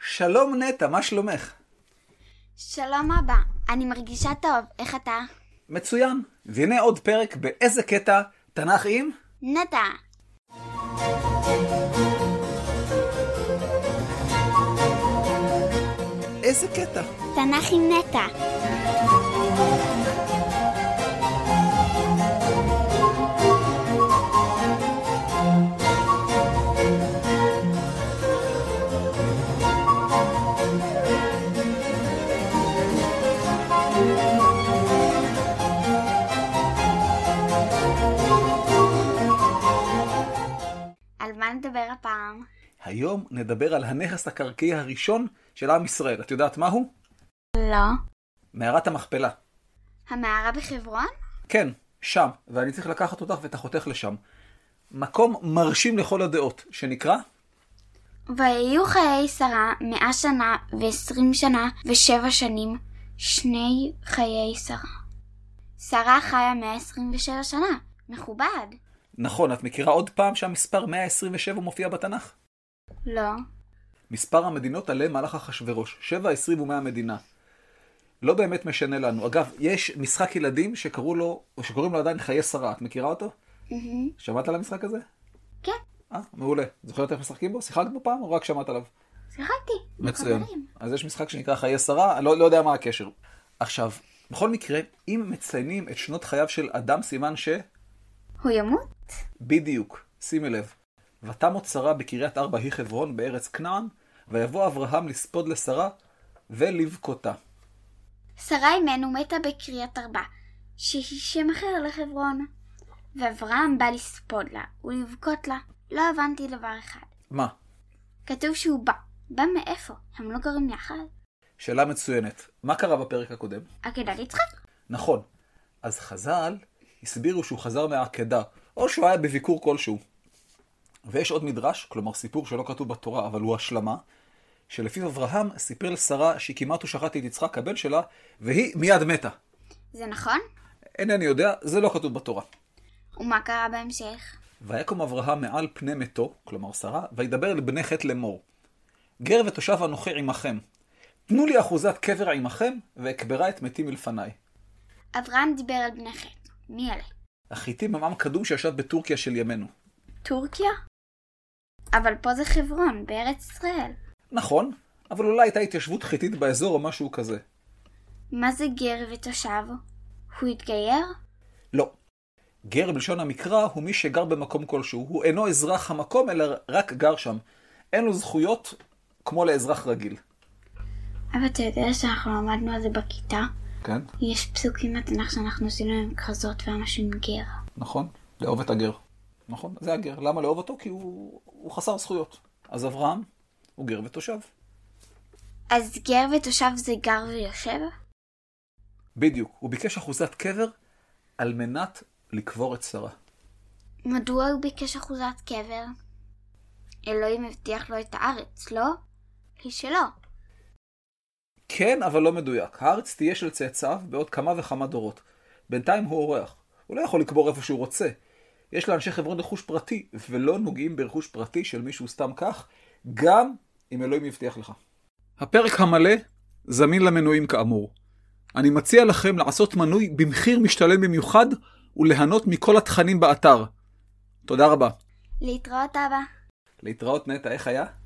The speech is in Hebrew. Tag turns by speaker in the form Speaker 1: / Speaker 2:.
Speaker 1: שלום נטע, מה שלומך?
Speaker 2: שלום אבא, אני מרגישה טוב, איך אתה?
Speaker 1: מצוין. אז הנה עוד פרק באיזה קטע תנ"ך עם?
Speaker 2: נטע.
Speaker 1: איזה קטע?
Speaker 2: תנ"ך עם נטע. על מה נדבר הפעם?
Speaker 1: היום נדבר על הנכס הקרקעי הראשון של עם ישראל. את יודעת מהו?
Speaker 2: לא.
Speaker 1: מערת המכפלה.
Speaker 2: המערה בחברון?
Speaker 1: כן, שם, ואני צריך לקחת אותך ואת אחותך לשם. מקום מרשים לכל הדעות, שנקרא
Speaker 2: ויהיו חיי שרה מאה שנה ועשרים שנה ושבע שנים, שני חיי שרה. שרה חיה מאה עשרים ושבע שנה, מכובד.
Speaker 1: נכון, את מכירה עוד פעם שהמספר 127 מופיע בתנ"ך?
Speaker 2: לא.
Speaker 1: מספר המדינות עליהן מלך אחשורוש, 7, 20 ומאה מדינה. לא באמת משנה לנו. אגב, יש משחק ילדים שקראו לו, או שקוראים לו עדיין חיי שרה, את מכירה אותו?
Speaker 2: מהמם.
Speaker 1: שמעת על המשחק הזה?
Speaker 2: כן.
Speaker 1: אה, מעולה. זוכרת איך משחקים בו? שיחקת בו פעם או רק שמעת עליו?
Speaker 2: שיחקתי. עם
Speaker 1: מצוין.
Speaker 2: חברים.
Speaker 1: אז יש משחק שנקרא חיי שרה, אני לא, לא יודע מה הקשר. עכשיו, בכל מקרה, אם מציינים את שנות חייו של אדם, סימן ש...
Speaker 2: הוא ימות?
Speaker 1: בדיוק, שימי לב. ותמות שרה בקריית ארבע היא חברון בארץ כנען, ויבוא אברהם לספוד לשרה ולבכותה.
Speaker 2: שרה אימנו מתה בקריית ארבע, שהיא שם אחר לחברון. ואברהם בא לספוד לה ולבכות לה. לא הבנתי דבר אחד.
Speaker 1: מה?
Speaker 2: כתוב שהוא בא. בא מאיפה? הם לא גרים יחד?
Speaker 1: שאלה מצוינת. מה קרה בפרק הקודם?
Speaker 2: עקדת יצחק?
Speaker 1: נכון. אז חז"ל הסבירו שהוא חזר מהעקדה, או שהוא היה בביקור כלשהו. ויש עוד מדרש, כלומר סיפור שלא כתוב בתורה, אבל הוא השלמה, שלפיו אברהם סיפר לשרה שכמעט הוא שחט את יצחק הבן שלה, והיא מיד מתה.
Speaker 2: זה נכון?
Speaker 1: אינני יודע, זה לא כתוב בתורה.
Speaker 2: ומה קרה בהמשך?
Speaker 1: ויקום אברהם מעל פני מתו, כלומר שרה, וידבר אל בני חטא לאמור. גר ותושב אנוכי עמכם. תנו לי אחוזת קבר עמכם, ואקברה את מתי מלפניי.
Speaker 2: אברהם דיבר על בני חטא. מי אלה?
Speaker 1: החיתים הם עם קדום שישב בטורקיה של ימינו.
Speaker 2: טורקיה? אבל פה זה חברון, בארץ ישראל.
Speaker 1: נכון, אבל אולי הייתה התיישבות חיתית באזור או משהו כזה.
Speaker 2: מה זה גר ותושב? הוא התגייר?
Speaker 1: לא. גר בלשון המקרא הוא מי שגר במקום כלשהו. הוא אינו אזרח המקום, אלא רק גר שם. אין לו זכויות כמו לאזרח רגיל.
Speaker 2: אבל אתה יודע שאנחנו למדנו על זה בכיתה?
Speaker 1: כן,
Speaker 2: יש פסוקים בתנ"ך שאנחנו עשינו עם כרזות ואנשים עם גר.
Speaker 1: נכון. לאהוב את הגר. נכון, זה הגר. למה לאהוב אותו? כי הוא, הוא חסר זכויות. אז אברהם הוא גר ותושב.
Speaker 2: אז גר ותושב זה גר ויושב?
Speaker 1: בדיוק. הוא ביקש אחוזת קבר על מנת לקבור את שרה.
Speaker 2: מדוע הוא ביקש אחוזת קבר? אלוהים הבטיח לו את הארץ, לא? היא שלו.
Speaker 1: כן, אבל לא מדויק. הארץ תהיה של צאצאיו בעוד כמה וכמה דורות. בינתיים הוא אורח. הוא לא יכול לקבור איפה שהוא רוצה. יש לאנשי חברון רכוש פרטי, ולא נוגעים ברכוש פרטי של מישהו סתם כך, גם אם אלוהים יבטיח לך. הפרק המלא זמין למנויים כאמור. אני מציע לכם לעשות מנוי במחיר משתלם במיוחד, וליהנות מכל התכנים באתר. תודה רבה.
Speaker 2: להתראות אבא.
Speaker 1: להתראות נטע, איך היה?